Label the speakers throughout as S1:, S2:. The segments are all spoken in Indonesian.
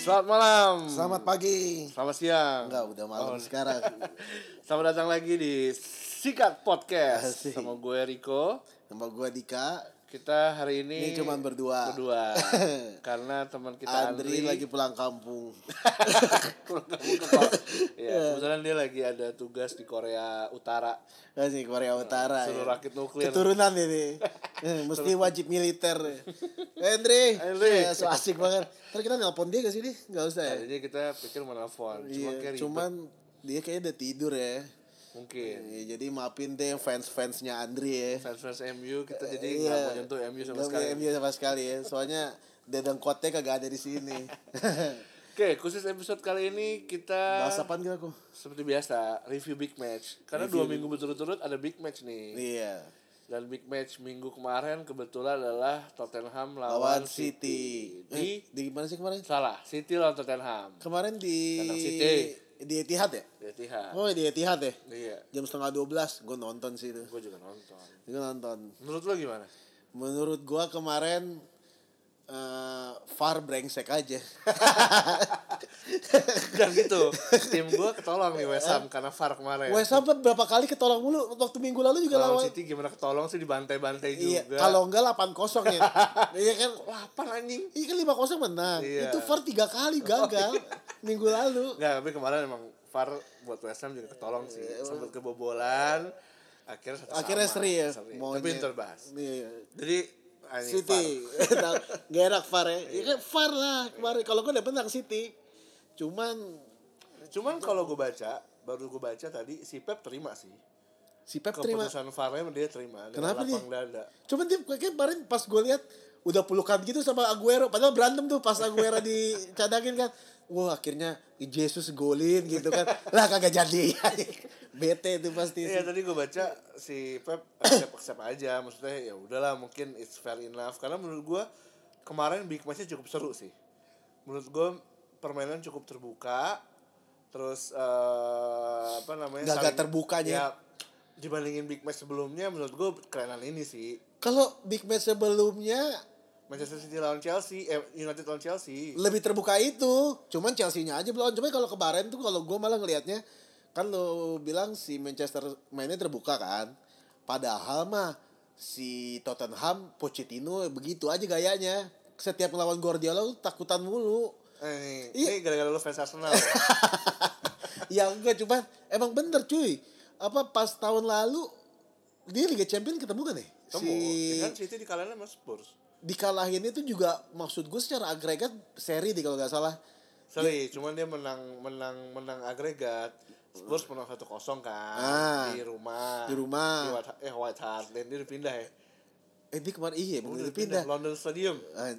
S1: Selamat malam.
S2: Selamat pagi.
S1: Selamat siang.
S2: Enggak, udah malam
S1: Oh.
S2: sekarang.
S1: Selamat datang lagi di Sikat Podcast
S2: Asik.
S1: sama gue Riko.
S2: Nama gua Dika.
S1: Kita hari ini
S2: Ini cuman berdua.
S1: Berdua. Karena teman kita
S2: Andri, lagi pulang kampung.
S1: pulang kampung ke Ko- Ya,
S2: Iya.
S1: kebetulan dia lagi ada tugas di Korea Utara.
S2: Ini Korea Utara.
S1: Suruh
S2: ya.
S1: rakit nuklir.
S2: Keturunan ini. Eh, Mesti wajib militer. Eh, Andri.
S1: Andri.
S2: Ya, so asik banget. Ntar kita nelpon dia gak sih, Di? Gak usah ya?
S1: Tadinya kita pikir mau nelfon, cuma
S2: Iya,
S1: kayak ribet.
S2: cuman dia kayaknya udah tidur ya.
S1: mungkin
S2: Iya, jadi maafin deh fans-fansnya Andri ya.
S1: fans-fans MU kita jadi
S2: Iya.
S1: nggak mau nyentuh MU sama
S2: Nggak
S1: sekali.
S2: punya MU sama sekali ya. Soalnya Dedeng Kote kagak ada di sini.
S1: Oke, khusus episode kali ini kita
S2: Bahas apaan gak aku?
S1: seperti biasa review big match karena dua minggu berturut-turut ada big match nih
S2: Iya.
S1: dan big match minggu kemarin kebetulan adalah Tottenham lawan
S2: lawan
S1: City,
S2: City.
S1: di
S2: Eh, di mana sih kemarin?
S1: salah City lawan Tottenham
S2: Kemarin di
S1: Kandang City.
S2: di Etihad ya?
S1: di Etihad
S2: Oh, di Etihad ya.
S1: iya
S2: Jam setengah 12 gue nonton sih itu.
S1: gue juga nonton
S2: Gue nonton.
S1: menurut lo gimana
S2: Menurut gua kemarin eh far brengsek aja.
S1: dan gitu tim gue ketolong nih West Ham karena VAR kemarin
S2: West Ham tuh berapa kali ketolong mulu waktu minggu lalu juga
S1: lawan
S2: lawan.
S1: City gimana ketolong sih dibantai-bantai
S2: Iya,
S1: juga
S2: kalau enggak 8-0 ya. iya kan?
S1: lapan anjing
S2: Iya kan 5-0 menang.
S1: Iya.
S2: Itu far 3 kali gagal minggu lalu.
S1: Nggak, tapi kemarin emang VAR buat West Ham juga ketolong sih. Sempet kebobolan. Akhirnya satu
S2: Iya, Akhirnya
S1: sama.
S2: seri ya.
S1: Tapi
S2: monyet.
S1: itu terbahas.
S2: Iya.
S1: Jadi anjing,
S2: City. Nah, Gak enak VAR ya. Ya kan VAR lah kemarin. Kalau gue udah menang City. Cuman
S1: VAR. Cuman kalau gue baca, baru gue baca tadi si Pep terima sih.
S2: si Pep terima.
S1: Keputusan VAR-nya dia terima. dengan
S2: Kenapa
S1: lapang dada.
S2: Cuman dia kayak kemarin pas gue lihat udah pelukan gitu sama Aguero. Padahal berantem tuh pas Aguero dicadangin kan. Wah akhirnya Jesus golin gitu kan. Lah kagak jadi. Bete itu pasti.
S1: Iya tadi gue baca si Pep accept accept aja maksudnya ya udahlah mungkin it's fair enough karena menurut gue kemarin big matchnya cukup seru sih menurut gue permainan cukup terbuka terus eh, apa namanya
S2: Gagah
S1: ya,
S2: terbukanya.
S1: dibandingin big match sebelumnya menurut gue kerenan ini sih
S2: Kalau big match sebelumnya
S1: Manchester City lawan Chelsea eh, United lawan Chelsea
S2: lebih terbuka itu cuman Chelsea-nya aja belum cuman kalau kemarin tuh kalau gue malah ngelihatnya kan lo bilang si Manchester mainnya terbuka kan padahal mah si Tottenham Pochettino begitu aja gayanya setiap ngelawan Guardiola lu takutan mulu
S1: eh, ini
S2: Iya.
S1: gara-gara lu fans Arsenal ya?
S2: ya enggak cuman emang bener cuy apa pas tahun lalu dia Liga Champions ketemu kan ya
S1: Temu,
S2: si
S1: ya kan City di kalahnya sama Spurs
S2: dikalahin itu juga maksud gue secara agregat seri deh kalau nggak salah
S1: Sorry,
S2: Iya.
S1: cuman dia menang menang menang agregat. Spurs menang 1-0 kan
S2: Ah,
S1: di rumah.
S2: di rumah.
S1: Di White, eh White Hart Lane dia udah pindah ya.
S2: eh dia kemarin iya
S1: Oh, Udah
S2: bener pindah
S1: London Stadium.
S2: Eh,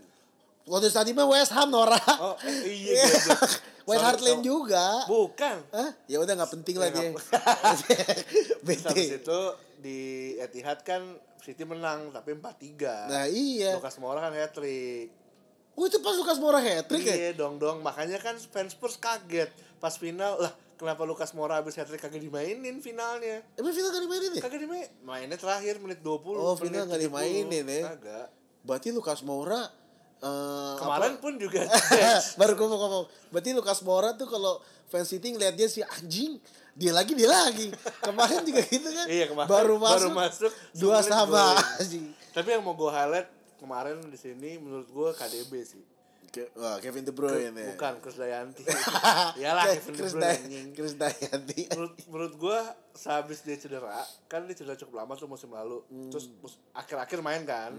S2: London Stadium mah West Ham Nora.
S1: Oh, eh, iya. goblok. Sorry,
S2: West Hart Lane
S1: sorry.
S2: juga.
S1: Bukan.
S2: Hah? Ya udah nggak penting lah
S1: Ya,
S2: dia.
S1: Terus habis
S2: Bete.
S1: itu di Etihad kan City menang tapi 4-3.
S2: Nah iya.
S1: Lucas Moura kan hat-trick.
S2: Oh itu pas Lukas Moura hat-trick ya?
S1: Iya dong dong, makanya kan fans Spurs kaget pas final lah kenapa Lucas Moura habis hat-trick kagak dimainin finalnya.
S2: Emang final gak dimainin ya?
S1: Kagak dimain. Mainnya terakhir menit 20.
S2: Oh,
S1: menit
S2: final nggak
S1: 70.
S2: dimainin ya.
S1: Kagak.
S2: Berarti Lukas Moura eh,
S1: Kemarin pun juga.
S2: apa- baru gue mau ngomong. Berarti Lukas Moura tuh kalau fans City ngeliat dia si anjing, dia lagi dia lagi. Kemarin juga gitu kan.
S1: iya, kemarin
S2: Baru masuk, dua
S1: semenit
S2: sama.
S1: golin.
S2: Anjing.
S1: Tapi yang mau gue highlight kemarin di sini menurut gue KDB sih.
S2: Ke- Wah, Kevin De Bruyne ya.
S1: Bukan Chris Dayanti. Iyalah Kevin De
S2: Chris
S1: Bruyne.
S2: Day-
S1: anjing.
S2: Chris Dayanti.
S1: Menurut, menurut gue sehabis dia cedera, kan dia cedera cukup lama tuh musim lalu.
S2: Hmm.
S1: Terus mus- akhir-akhir main kan.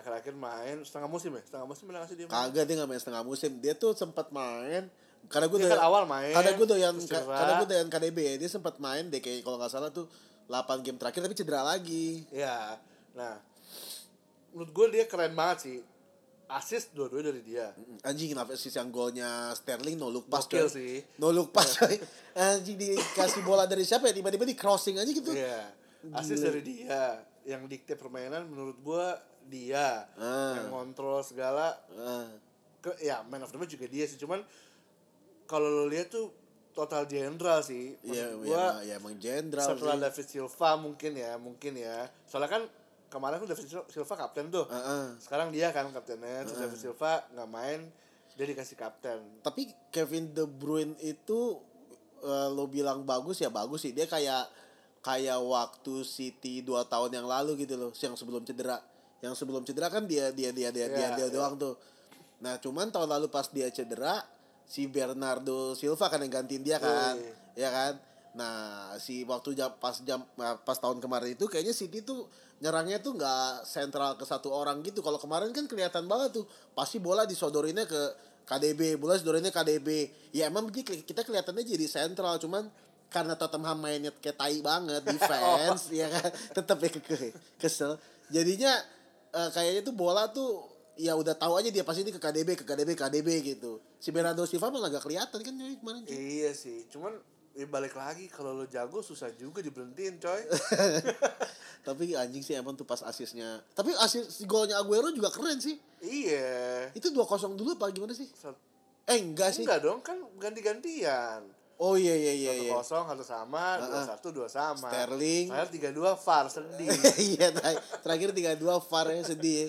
S1: Akhir-akhir main setengah musim ya. Setengah musim mana nggak sih dia? main?
S2: Kagak dia nggak main setengah musim. Dia tuh sempat main karena gue
S1: Dia kan awal main,
S2: Karena gue doyan
S1: terus
S2: ka-
S1: cedera.
S2: karena gue doyan KDB ya. Dia sempat main deh kayak kalau nggak salah tuh 8 game terakhir tapi cedera lagi.
S1: Ya, nah menurut gue dia keren banget sih. Asis dua-dua dari dia.
S2: Anjing kenapa sih yang golnya Sterling no look pass
S1: Gokil
S2: coy.
S1: sih.
S2: No look pass coy. Anjing dikasih bola dari siapa ya tiba-tiba di crossing aja gitu.
S1: Iya, asis dari dia. Yang dikte permainan menurut gue dia.
S2: Ah.
S1: Yang kontrol segala.
S2: Ah.
S1: Ke, ya man of the match juga dia sih. Cuman kalau lo lihat tuh total jenderal sih.
S2: Iya,
S1: Maksud gue
S2: ya, ya emang jenderal.
S1: setelah
S2: sih.
S1: David Silva mungkin ya, mungkin ya. Soalnya kan kemarin tuh David Sil- Silva kapten tuh.
S2: Ah, ah.
S1: Sekarang dia kan kaptennya. Terus David Silva nggak main Dia dikasih kapten.
S2: Tapi Kevin De Bruyne itu eh, lo bilang bagus ya bagus sih. Dia kayak kayak waktu City dua tahun yang lalu gitu loh, yang sebelum cedera. Yang sebelum cedera kan dia dia dia dia dia
S1: Iya,
S2: dia
S1: iya.
S2: doang tuh. Nah, cuman tahun lalu pas dia cedera si Bernardo Silva kan yang gantiin dia kan.
S1: Iya,
S2: Ya kan? Nah, si waktu jam pas jam nah, pas tahun kemarin itu kayaknya City tuh nyerangnya tuh nggak sentral ke satu orang gitu. Kalau kemarin kan kelihatan banget tuh pasti bola disodorinnya ke KDB, bola disodorinnya KDB. Ya emang dia- kita kelihatannya jadi sentral cuman karena Tottenham mainnya kayak tai banget defense ya kan tetap ya ke ke- kesel. Jadinya eh, kayaknya tuh bola tuh ya udah tahu aja dia pasti ini ke KDB ke KDB KDB gitu. Si Bernardo Silva malah gak kelihatan kan Nyoy, kemarin. Ki?
S1: Iya sih, cuman ya balik lagi kalau lo jago susah juga diberhentiin coy.
S2: Tapi anjing sih emang tuh pas asisnya. Tapi asis golnya Aguero juga keren sih.
S1: iya.
S2: Itu 2-0 dulu apa gimana sih?
S1: Sat-
S2: Eh enggak sih.
S1: Enggak dong kan ganti-gantian.
S2: Oh iya iya iya
S1: Satu
S2: iya.
S1: kosong satu sama, dua
S2: Ah, ah.
S1: satu dua sama.
S2: Sterling.
S1: Saya tiga dua far sedih.
S2: Iya ter- terakhir 3-2 VAR ya sedih. ya.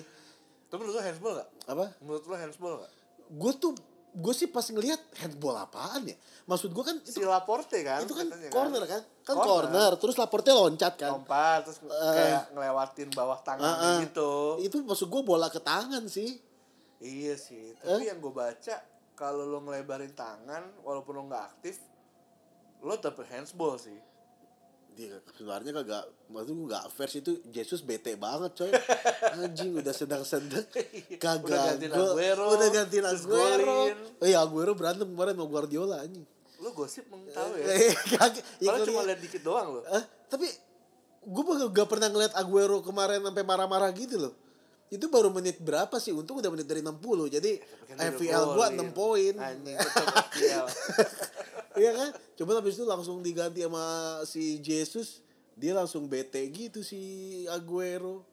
S1: Tapi menurut lo handsball gak?
S2: Apa?
S1: Menurut lo handsball gak?
S2: Gue tuh gue sih pas ngelihat handball apaan ya. Maksud gue kan
S1: Si
S2: itu,
S1: Laporte kan?
S2: itu kan
S1: katanya
S2: corner kan. Kan
S1: Corner.
S2: corner, terus laportnya loncat kan.
S1: Lompat terus kayak ngelewatin bawah tangan
S2: Ah, ah.
S1: gitu.
S2: Itu maksud gue bola ke tangan sih.
S1: Iya sih, tapi yang gue baca kalau lo ngelebarin tangan walaupun lo nggak aktif, lo dapet handsball sih.
S2: dia sebenarnya kagak maksud gue gak fair sih itu Jesus bete banget coy anjing udah sedang-sedang
S1: Iya, Udah
S2: kagak
S1: gantiin
S2: gol.
S1: Aguero,
S2: udah gantiin
S1: terus
S2: Aguero
S1: golin.
S2: oh iya Aguero berantem kemarin sama Guardiola anjing
S1: Lo gosip emang tahu ya?
S2: Eh, kagak ya,
S1: Kalau
S2: gua
S1: cuma
S2: liat-
S1: lihat dikit doang lo.
S2: Eh, tapi gue gak pernah ngeliat Aguero kemarin sampai marah-marah gitu loh itu baru menit berapa sih untung udah menit dari 60 jadi
S1: Iya, kan
S2: FPL Eh, gua 6 poin
S1: Anjing, tetep FPL.
S2: Iya kan? Coba habis itu langsung diganti sama si Jesus, dia langsung bete gitu si Aguero.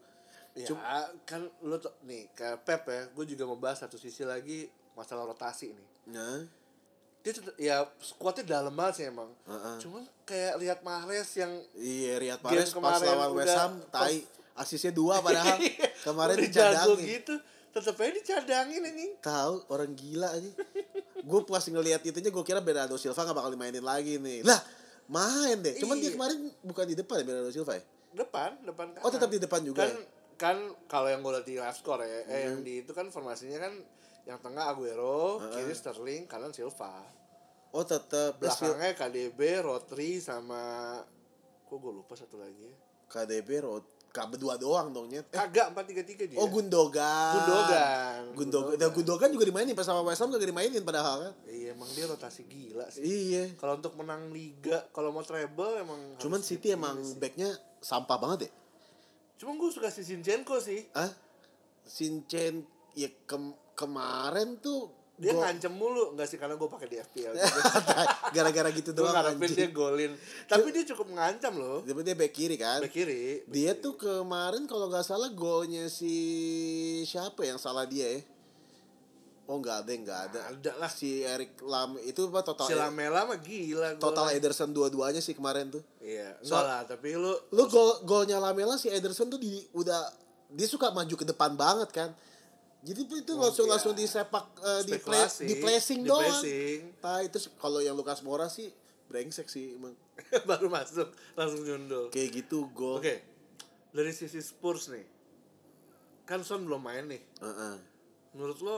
S2: Iya.
S1: Ya, kan lo tuh- nih kayak Pep ya, gue juga membahas satu sisi lagi masalah rotasi nih.
S2: Nah,
S1: Dia tetep- ya skuadnya dalam banget sih emang.
S2: Heeh.
S1: Cuman kayak lihat Mahrez yang
S2: iya Riyad
S1: Game
S2: Mahrez pas
S1: kemarin
S2: lawan West
S1: udah- Iya,
S2: Ham tai asisnya dua padahal kemarin
S1: udah jago
S2: dicadangin.
S1: gitu, tetep aja dicadangin anjing.
S2: Tahu orang gila aja. gue pas ngelihat itunya gue kira Bernardo Silva gak bakal dimainin lagi nih. Lah, main deh. Cuman dia
S1: Iya.
S2: kemarin bukan di depan ya Bernardo Silva ya?
S1: depan depan kanan.
S2: Oh, tetap di depan juga
S1: kan
S2: ya? Hmm.
S1: kan kalau yang gue lihat di live score ya eh, yang di itu kan formasinya kan yang tengah Aguero kiri Sterling kanan Silva
S2: Oh, tetap Sil-
S1: belakangnya KDB Rodri sama kok gue lupa satu lagi
S2: Eh.
S1: ya
S2: KDB Rod. Kak berdua doang dong nyet.
S1: kagak empat tiga tiga dia
S2: Oh Gundogan.
S1: Gundogan.
S2: Gundogan. Dan Gundogan juga dimainin pas sama West Ham gak dimainin padahal kan.
S1: iya emang dia rotasi gila sih
S2: Iya.
S1: kalau untuk menang liga kalau mau treble emang
S2: Cuman
S1: harus
S2: City
S1: dipilih
S2: emang
S1: sih.
S2: backnya sampah banget ya.
S1: cuman gue suka si Zinchenko sih
S2: Ah, Sincen ya kem- kemarin tuh
S1: dia
S2: gol-
S1: ngancem mulu nggak sih karena gue pakai di FPL
S2: gara-gara gitu
S1: gue
S2: doang
S1: ngarepin dia
S2: anjing.
S1: golin tapi dia cukup mengancam loh
S2: Tapi dia back kiri kan.
S1: Bek kiri
S2: Dia tuh kemarin kalau nggak salah golnya si siapa yang salah dia ya? Oh nggak ada nggak ada.
S1: Nggak ada lah.
S2: Si Eric Lam itu apa total E-
S1: Si Lamela mah gila gua.
S2: total Ederson dua-duanya sih kemarin tuh.
S1: Iya Enggak
S2: So-
S1: lah tapi lu
S2: lu gol golnya Lamela si Ederson tuh di udah dia suka maju ke depan banget kan jadi itu langsung
S1: iya.
S2: langsung disepak eh, di pla-
S1: Spekulasi.
S2: di placing
S1: Di
S2: doang
S1: placing.
S2: tai terus kalau yang Lukas Moura sih brengsek sih emang
S1: baru masuk langsung nyundul Oke
S2: kayak gitu gol
S1: Dari sisi Spurs nih Kan Son belum main nih
S2: Heeh.
S1: Menurut lo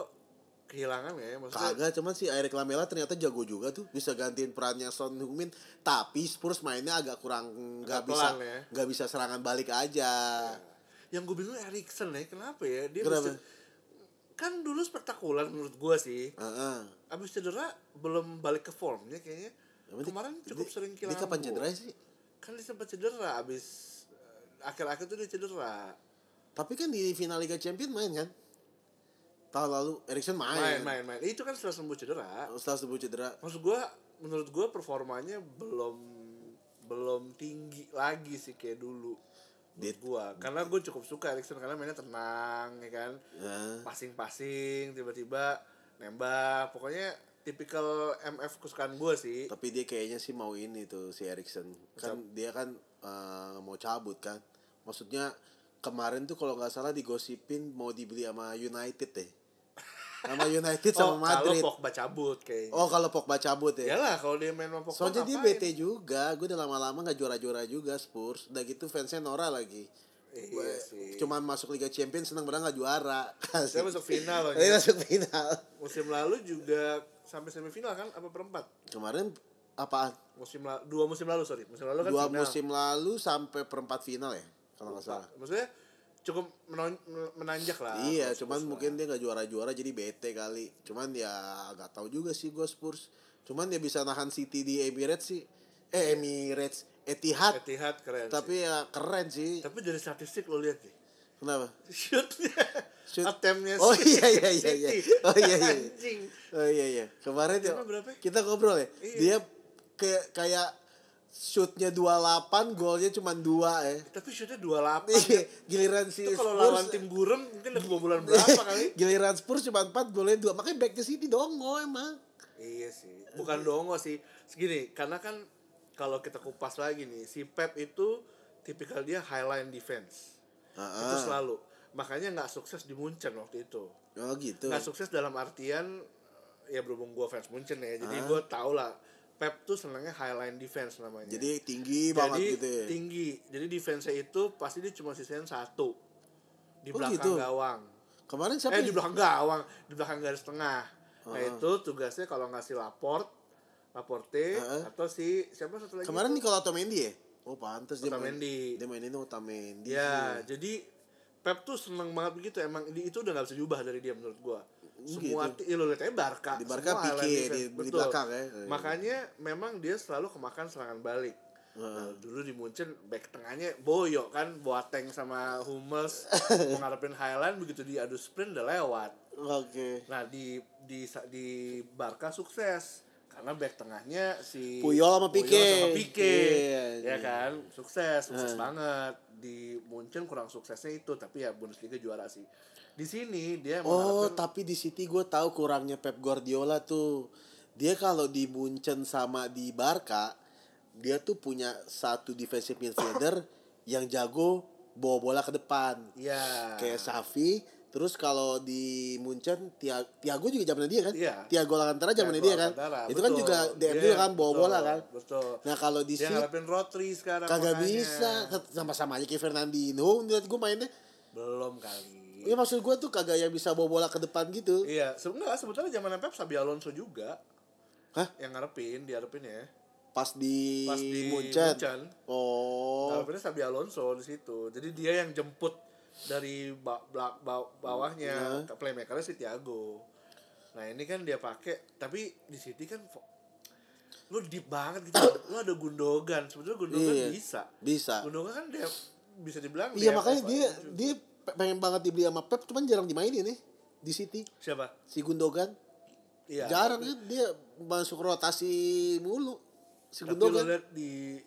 S1: Kehilangan gak ya Maksudnya
S2: kagak cuman si Eric Lamela ternyata jago juga tuh bisa gantiin perannya Son Heung-min tapi Spurs mainnya agak kurang nggak
S1: Agak
S2: bisa
S1: pelan ya.
S2: nggak bisa serangan balik aja
S1: Yang gue bingung Erikson ya Kenapa ya Dia
S2: Kenapa?
S1: mesti- Kan dulu spektakuler menurut gue sih
S2: Heeh.
S1: Abis cedera Belum balik ke formnya kayaknya
S2: Tapi dia-
S1: Kemarin cukup
S2: dia-
S1: sering
S2: dia
S1: kehilangan
S2: kapan
S1: bola.
S2: cedera sih
S1: Kan dia sempat cedera Abis eh, Akhir-akhir tuh dia cedera
S2: Tapi kan di final Liga Champions main kan? Tahun lalu Erikson main.
S1: Main main main Itu kan setelah sembuh cedera
S2: Setelah sembuh cedera.
S1: maksud gua menurut gua performanya belum belum tinggi lagi sih kayak dulu menurut gua karena gua cukup suka Erikson karena mainnya tenang ya kan
S2: Nah,
S1: pasing-pasing tiba-tiba nembak pokoknya tipikal MF kesukaan gua sih
S2: tapi dia kayaknya sih mau ini tuh si Erikson. Kan dia kan eh, mau cabut kan. Maksudnya kemarin tuh kalau nggak salah digosipin mau dibeli sama United deh. sama United
S1: Oh,
S2: sama
S1: kalau
S2: Madrid.
S1: Pogba cabut kayaknya.
S2: oh, kalau Pogba cabut ya.
S1: Yalah kalau dia main sama Pogba
S2: Soalnya dia
S1: ngapain?
S2: bete juga, gue udah lama-lama nggak juara-juara juga Spurs. Udah gitu fansnya Nora lagi.
S1: Iya
S2: Gue
S1: sih.
S2: cuman masuk Liga Champions seneng banget nggak juara.
S1: Dia masuk final loh.
S2: Tapi
S1: Nyet.
S2: masuk final.
S1: Musim lalu juga sampai semifinal kan apa perempat?
S2: Kemarin apaan?
S1: Musim la- dua musim lalu sorry musim lalu kan
S2: Dua
S1: final.
S2: musim lalu sampai perempat final ya, kalau nggak salah.
S1: Nah, Maksudnya cukup menon- menanjak lah.
S2: Iya,
S1: kalau
S2: cuman
S1: Spurs lah.
S2: mungkin dia nggak juara-juara jadi bete kali. Cuman ya nggak tahu juga sih gue Spurs. Cuman dia bisa nahan City di Emirates sih. Eh Emirates, Etihad.
S1: Etihad keren. sih.
S2: Tapi ya keren sih.
S1: tapi dari statistik lo lihat sih.
S2: Kenapa?
S1: Shootnya,
S2: Shoot.
S1: attemptnya
S2: Oh,
S1: City.
S2: iya, iya, iya, iya.
S1: City.
S2: Oh, iya, iya.
S1: Anjing.
S2: Oh iya iya. Kemarin
S1: Dia
S2: ya,
S1: mah berapa ya?
S2: kita ngobrol ya.
S1: Iya.
S2: Dia ke kayak shootnya 28, golnya cuma 2 ya.
S1: Tapi shootnya 28.
S2: Iya, giliran si
S1: Itu kalau
S2: Spurs
S1: lawan tim gurem mungkin udah kebobolan berapa kali?
S2: Giliran Spurs cuma 4, golnya 2. Makanya back to City dongo emang.
S1: Iya sih. Bukan dongo sih. Segini, karena kan kalau kita kupas lagi nih, si Pep itu tipikal dia highline defense. Itu
S2: Heeh.
S1: selalu. Makanya nggak sukses di Munchen waktu itu.
S2: Oh gitu.
S1: Nggak sukses dalam artian ya berhubung gue fans Munchen ya.
S2: Ah.
S1: Jadi gue tau lah Pep tuh senangnya highline defense namanya.
S2: Jadi tinggi banget
S1: Jadi
S2: gitu ya.
S1: tinggi. Jadi defense itu pasti dia cuma sisain satu di
S2: Oh,
S1: belakang
S2: gitu?
S1: gawang.
S2: Kemarin siapa? ya?
S1: eh di
S2: yang-
S1: belakang gawang, di belakang garis tengah. Nah
S2: Heeh.
S1: itu tugasnya kalau ngasih laport, laporte
S2: Heeh.
S1: atau si siapa satu lagi?
S2: Ah. Kemarin
S1: itu?
S2: Nicola Otamendi ya? Oh pantas dia main.
S1: Otamendi.
S2: Dia mainin Otamendi.
S1: Ya, jadi Pep tuh seneng banget begitu emang di- itu udah nggak bisa diubah dari dia menurut gua. Semua ti- ya, lo lihat aja Barca.
S2: Di Barca
S1: semua highlight
S2: Pique,
S1: defense.
S2: di- di
S1: Betul.
S2: belakang ya.
S1: Makanya memang dia selalu kemakan serangan balik. Nah, dulu di Munchen back tengahnya boyo kan Boateng sama Hummels mau ngadepin Highland begitu diadu sprint udah lewat.
S2: Oke.
S1: Nah, di di di Barca sukses karena back tengahnya si
S2: Puyol sama Pique.
S1: sama Pique.
S2: Iya,
S1: Ya kan, sukses, sukses banget. Di Munchen kurang suksesnya itu, tapi ya Bundesliga juara sih. Di sini dia
S2: Oh,
S1: mengharapkan-
S2: tapi di City gue tahu kurangnya Pep Guardiola tuh. Dia kalau di Munchen sama di Barca, dia tuh punya satu defensive midfielder yang jago bawa bola ke depan.
S1: Iya.
S2: Kayak Safi, terus kalau di Munchen Tia- Tiago juga zamannya dia kan?
S1: Iya.
S2: Tiago Alcantara zamannya dia kan?
S1: Alcantara,
S2: Itu kan
S1: betul.
S2: juga DM
S1: Dia-
S2: juga kan bawa
S1: betul,
S2: bola kan?
S1: Betul.
S2: Nah, kalau di
S1: dia
S2: City
S1: ngarepin Rotri sekarang
S2: kagak
S1: makanya.
S2: bisa sama-sama aja kayak Fernandinho menurut gue mainnya.
S1: Belum kali.
S2: Ya maksud gue tuh kagak yang bisa bawa bola ke depan gitu.
S1: Iya, se- enggak sebetulnya zaman Pep Sabi Alonso juga.
S2: Hah?
S1: Yang ngarepin, diharapin ya.
S2: Pas di,
S1: Pas di
S2: Munchen.
S1: Munchen.
S2: Oh.
S1: Ngarepinnya Sabi Alonso di situ. Jadi dia yang jemput dari ba- bla- ba- bawahnya
S2: Iya.
S1: ke playmakernya si Thiago. Nah, ini kan dia pakai tapi di City kan fo- lu deep banget gitu. lu ada Gundogan, sebetulnya Gundogan
S2: Iya.
S1: bisa.
S2: Bisa.
S1: Gundogan kan dia bisa dibilang
S2: Iya
S1: dia-
S2: makanya dia dia pe- pengen banget dibeli sama Pep cuman jarang dimainin nih di City
S1: siapa?
S2: si Gundogan.
S1: Iya.
S2: jarang kan dia masuk rotasi mulu si
S1: Tapi lu
S2: Gundogan.
S1: lihat di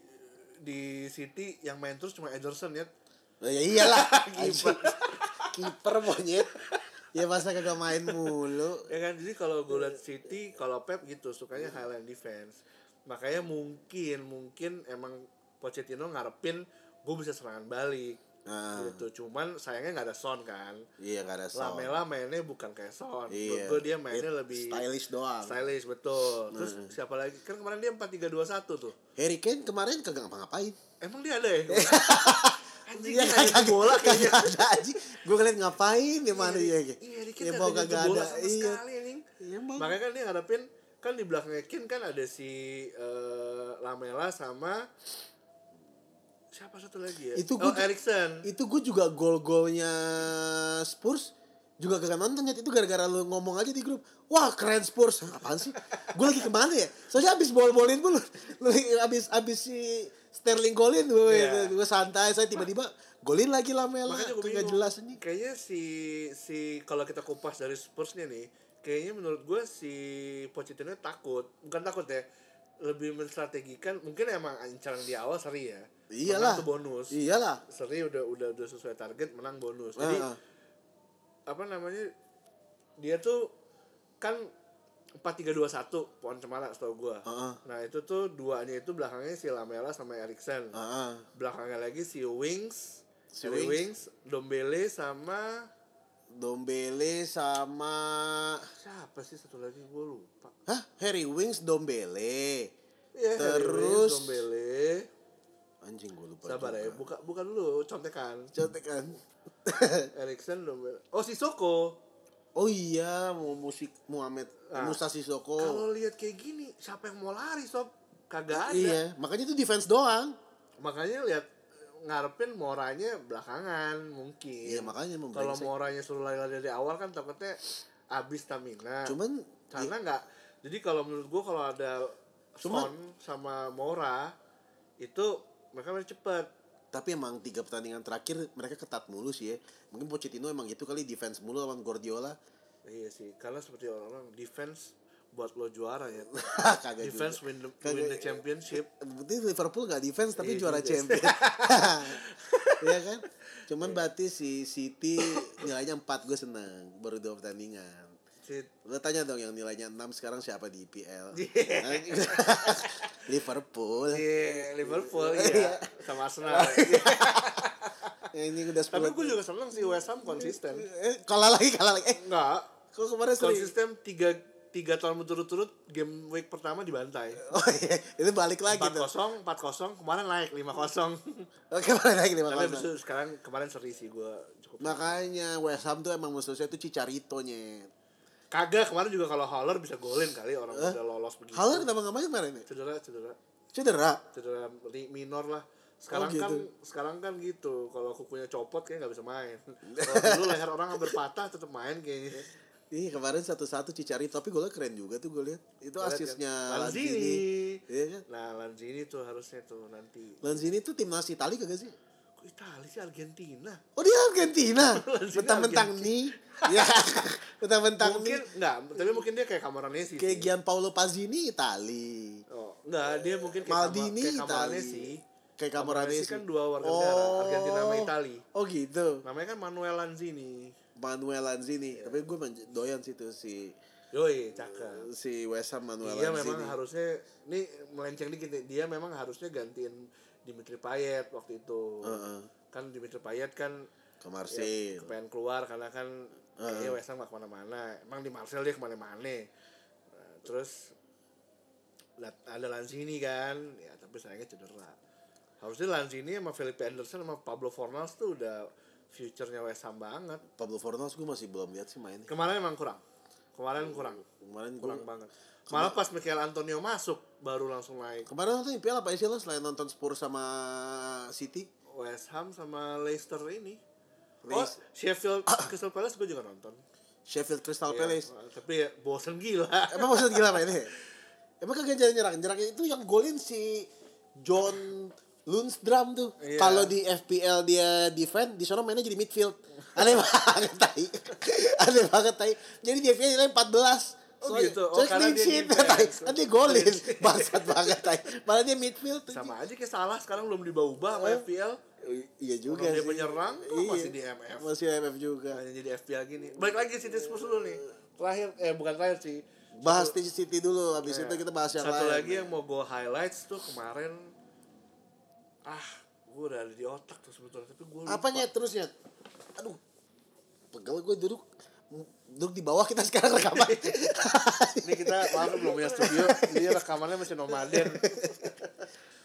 S1: di City yang main terus cuma Ederson ya.
S2: Lah, ya iyalah. Anjing. Kiper monyet. Ya masa kagak main mulu.
S1: ya kan jadi kalau gue liat City kalau Pep gitu sukanya Highland defense makanya mungkin mungkin emang Pochettino ngarepin gue bisa serangan balik
S2: Nah.
S1: gitu cuman sayangnya nggak ada Son kan
S2: Iya gak ada sound.
S1: Lamela mainnya bukan kayak Son
S2: Iya.
S1: gue dia mainnya
S2: It-
S1: lebih
S2: stylish Nah. doang.
S1: stylish betul terus siapa lagi kan kemarin dia empat tiga dua satu tuh
S2: Harry Kane kemarin kagak ngapa-ngapain.
S1: emang dia ada ya anjing
S2: Iya
S1: dia ada di bola kayaknya
S2: kagak ada anjing. Gue kalian ngapain ya mana ya?
S1: Iya, Ricky
S2: Ya
S1: nggak
S2: mau
S1: ada nyentuh
S2: kagak
S1: bola
S2: ada.
S1: sama
S2: Iya.
S1: sekali, anjing.
S2: Iya, emang.
S1: Makanya kan dia ngadepin kan di belakangnya Kin kan ada si eh, Lamela sama siapa satu lagi ya?
S2: Itu
S1: oh,
S2: gua-
S1: Erikson.
S2: Itu gue juga gol-golnya Spurs juga kagak nonton Nyet. itu gara-gara lu ngomong aja di grup wah keren Spurs Hah, apaan sih gue lagi kemana ya soalnya abis bol-bolin dulu lu abis abis si Sterling golin gue
S1: Iya.
S2: gue santai saya tiba-tiba golin lagi Lamela
S1: Makanya gue
S2: nggak jelas ini
S1: Kayaknya si si kalau kita kupas dari Spursnya nih, kayaknya menurut gue si Pochettino takut, bukan takut ya, lebih menstrategikan. Mungkin emang ancaran di awal seri ya.
S2: iyalah
S1: Menang tuh bonus.
S2: iyalah
S1: Seri udah udah udah sesuai target, menang bonus. Jadi
S2: Ah, ah.
S1: apa namanya dia tuh kan empat tiga dua satu pohon cemara setahu gua
S2: Heeh.
S1: nah itu tuh duanya itu belakangnya si Lamela sama Erikson
S2: Ah, ah.
S1: belakangnya lagi si Wings
S2: Si
S1: Harry
S2: Wings.
S1: Wings Dombele sama
S2: Dombele sama
S1: Siapa sih satu lagi gue lupa.
S2: Hah? Harry Wings Dombele.
S1: Ya, Harry
S2: Terus-
S1: Wilson, Dombele.
S2: Anjing gue lupa. kan.
S1: Sabar ya, buka buka dulu contekan.
S2: Contekan. Eh.
S1: Erikson Dombele. Oh, Sissoko.
S2: oh iya, mau musik Muhammad
S1: Ah.
S2: Musa Sissoko.
S1: Kalau lihat kayak gini, siapa yang mau lari, sob? Kagak ada.
S2: Iya, makanya itu defense doang.
S1: Makanya lihat ngarepin Moranya belakangan mungkin.
S2: Iya, makanya mau
S1: Kalau
S2: brengsek.
S1: Moranya suruh lari-lari dari awal kan takutnya habis stamina.
S2: Cuman iya.
S1: karena nggak jadi kalau menurut gua kalau ada
S2: Cuma-
S1: Son sama Mora itu mereka main cepet
S2: tapi emang tiga pertandingan terakhir mereka ketat mulu sih ya. Mungkin Pochettino emang gitu kali defense mulu lawan Guardiola.
S1: iya sih karena seperti orang-orang defense buat lo juara ya
S2: Ah, Kagak
S1: defense
S2: juga.
S1: win the,
S2: Kagak-
S1: win the championship
S2: Berarti Liverpool gak defense
S1: Iya,
S2: tapi juara
S1: juga.
S2: champion. Iya kan? Cuman berarti si City nilainya 4 gue seneng baru dua pertandingan.
S1: Si-
S2: Lo tanya dong yang nilainya 6 sekarang siapa di IPL?
S1: Iya.
S2: Liverpool.
S1: si Liverpool iya sama Arsenal
S2: Iya. Ya, Ini udah 10.
S1: tapi gue juga seneng sih West Ham konsisten
S2: eh, kalah lagi, kalah lagi. Eh,
S1: enggak
S2: kok kemarin sering?
S1: konsisten tiga tiga tahun berturut-turut game week pertama dibantai
S2: Oh iya, itu balik lagi
S1: empat
S2: tuh.
S1: kosong empat kosong kemarin naik lima gitu. kosong
S2: Oke, balik lagi nih
S1: tapi
S2: makanya.
S1: abis itu sekarang kemarin seri sih gue cukup
S2: Makanya West Ham tuh emang musuhnya tuh Cicarito-nya.
S1: Kagak kemarin juga kalau Haller bisa golin kali orang
S2: Eh?
S1: udah lolos begitu.
S2: Haller kenapa nggak main kemarin ya?
S1: cedera cedera
S2: Cedera.
S1: cedera ri- minor lah. Sekarang
S2: Oh, gitu.
S1: kan sekarang kan gitu kalau kukunya copot kayak nggak bisa main. Kalau dulu leher orang hampir patah tetap main kayaknya.
S2: Ih kemarin satu-satu Cicarito tapi golnya keren juga tuh gue lihat. Itu
S1: Lihat kan?
S2: asisnya
S1: Lanzini.
S2: Lanzini. Iya kan?
S1: Nah Lanzini tuh harusnya tuh nanti.
S2: Lanzini tuh timnas Italia kagak sih?
S1: Kok Italia sih Argentina?
S2: Oh dia Argentina.
S1: Lanzini
S2: Mentang-mentang nih. Ya. Mentang-mentang
S1: mungkin
S2: nih.
S1: nggak, tapi mungkin dia kayak Camoranesi
S2: Kayak
S1: sih.
S2: Gianpaolo Pazzini Itali.
S1: Oh, enggak, dia mungkin kayak
S2: Maldini
S1: Camo- kayak
S2: Itali.
S1: Camoranesi.
S2: Kayak
S1: Camoranesi
S2: Camoranesi.
S1: kan dua warga negara, Argentina sama
S2: Oh.
S1: Italia.
S2: Oh gitu.
S1: Namanya kan Manuel Lanzini.
S2: Manuel Lanzini. Tapi gue men- doyan sih tuh si
S1: Yoi, cakep.
S2: si West Ham Manuel
S1: Dia Iya,
S2: Lanzini.
S1: memang harusnya ini melenceng dikit nih. Dia memang harusnya gantiin Dimitri Payet waktu itu.
S2: Heeh.
S1: Kan Dimitri Payet kan
S2: ke Marseille.
S1: Iya, pengen keluar karena kan kayaknya West Ham gak kemana-mana. Emang di Marseille dia kemana-mana. Nah, terus lat- ada Lanzini kan, ya tapi sayangnya cedera. Harusnya Lanzini sama Felipe Anderson sama Pablo Fornals tuh udah future-nya West Ham banget.
S2: Pablo Fornals gue masih belum lihat sih mainnya.
S1: Kemarin emang kurang. Kemarin kurang.
S2: Kemarin gue
S1: kurang banget. Malah pas Michael Antonio masuk baru langsung naik
S2: Kemarin nonton IPL apa sih lo selain nonton Spurs sama City?
S1: West Ham sama Leicester ini. Oh,
S2: Leicester.
S1: Sheffield Crystal Palace gue juga nonton.
S2: Sheffield Crystal
S1: Iya,
S2: Palace.
S1: tapi ya bosen gila.
S2: Emang maksud gila mainnya? Emang kagak jalan nyerang? Nyerangnya itu yang golin si John Lundstram tuh.
S1: Iya.
S2: Kalau di FPL dia defend, di sana mainnya jadi midfield. Aneh banget tai. Aneh banget tai. Jadi di FPL nilai 14.
S1: Oh,
S2: Soalnya-
S1: gitu. Oh,
S2: soalnya
S1: karena
S2: clean
S1: dia
S2: sheet,
S1: defense.
S2: tai. Kan dia golin. Bangsat banget tai. Malah dia midfield tuh.
S1: Sama aja kayak salah sekarang belum diubah sama
S2: Eh.
S1: FPL.
S2: Iya juga
S1: Orang dia
S2: sih. Iya.
S1: penyerang tuh masih di MF.
S2: Masih MF juga.
S1: Hanya Nah, jadi FPL gini. Balik lagi City
S2: Iya.
S1: Spurs dulu nih. Terakhir eh bukan terakhir sih.
S2: Bahas Satu- City dulu, habis
S1: Nah, Iya.
S2: itu kita bahas yang
S1: Satu
S2: lain.
S1: lagi yang mau gue highlights tuh kemarin ah gue udah ada di otak tuh sebetulnya tapi gue lupa.
S2: Apanya terusnya? Aduh, pegel gue duduk duduk di bawah kita sekarang rekaman.
S1: Ini kita maaf belum punya studio, jadi rekamannya masih nomaden.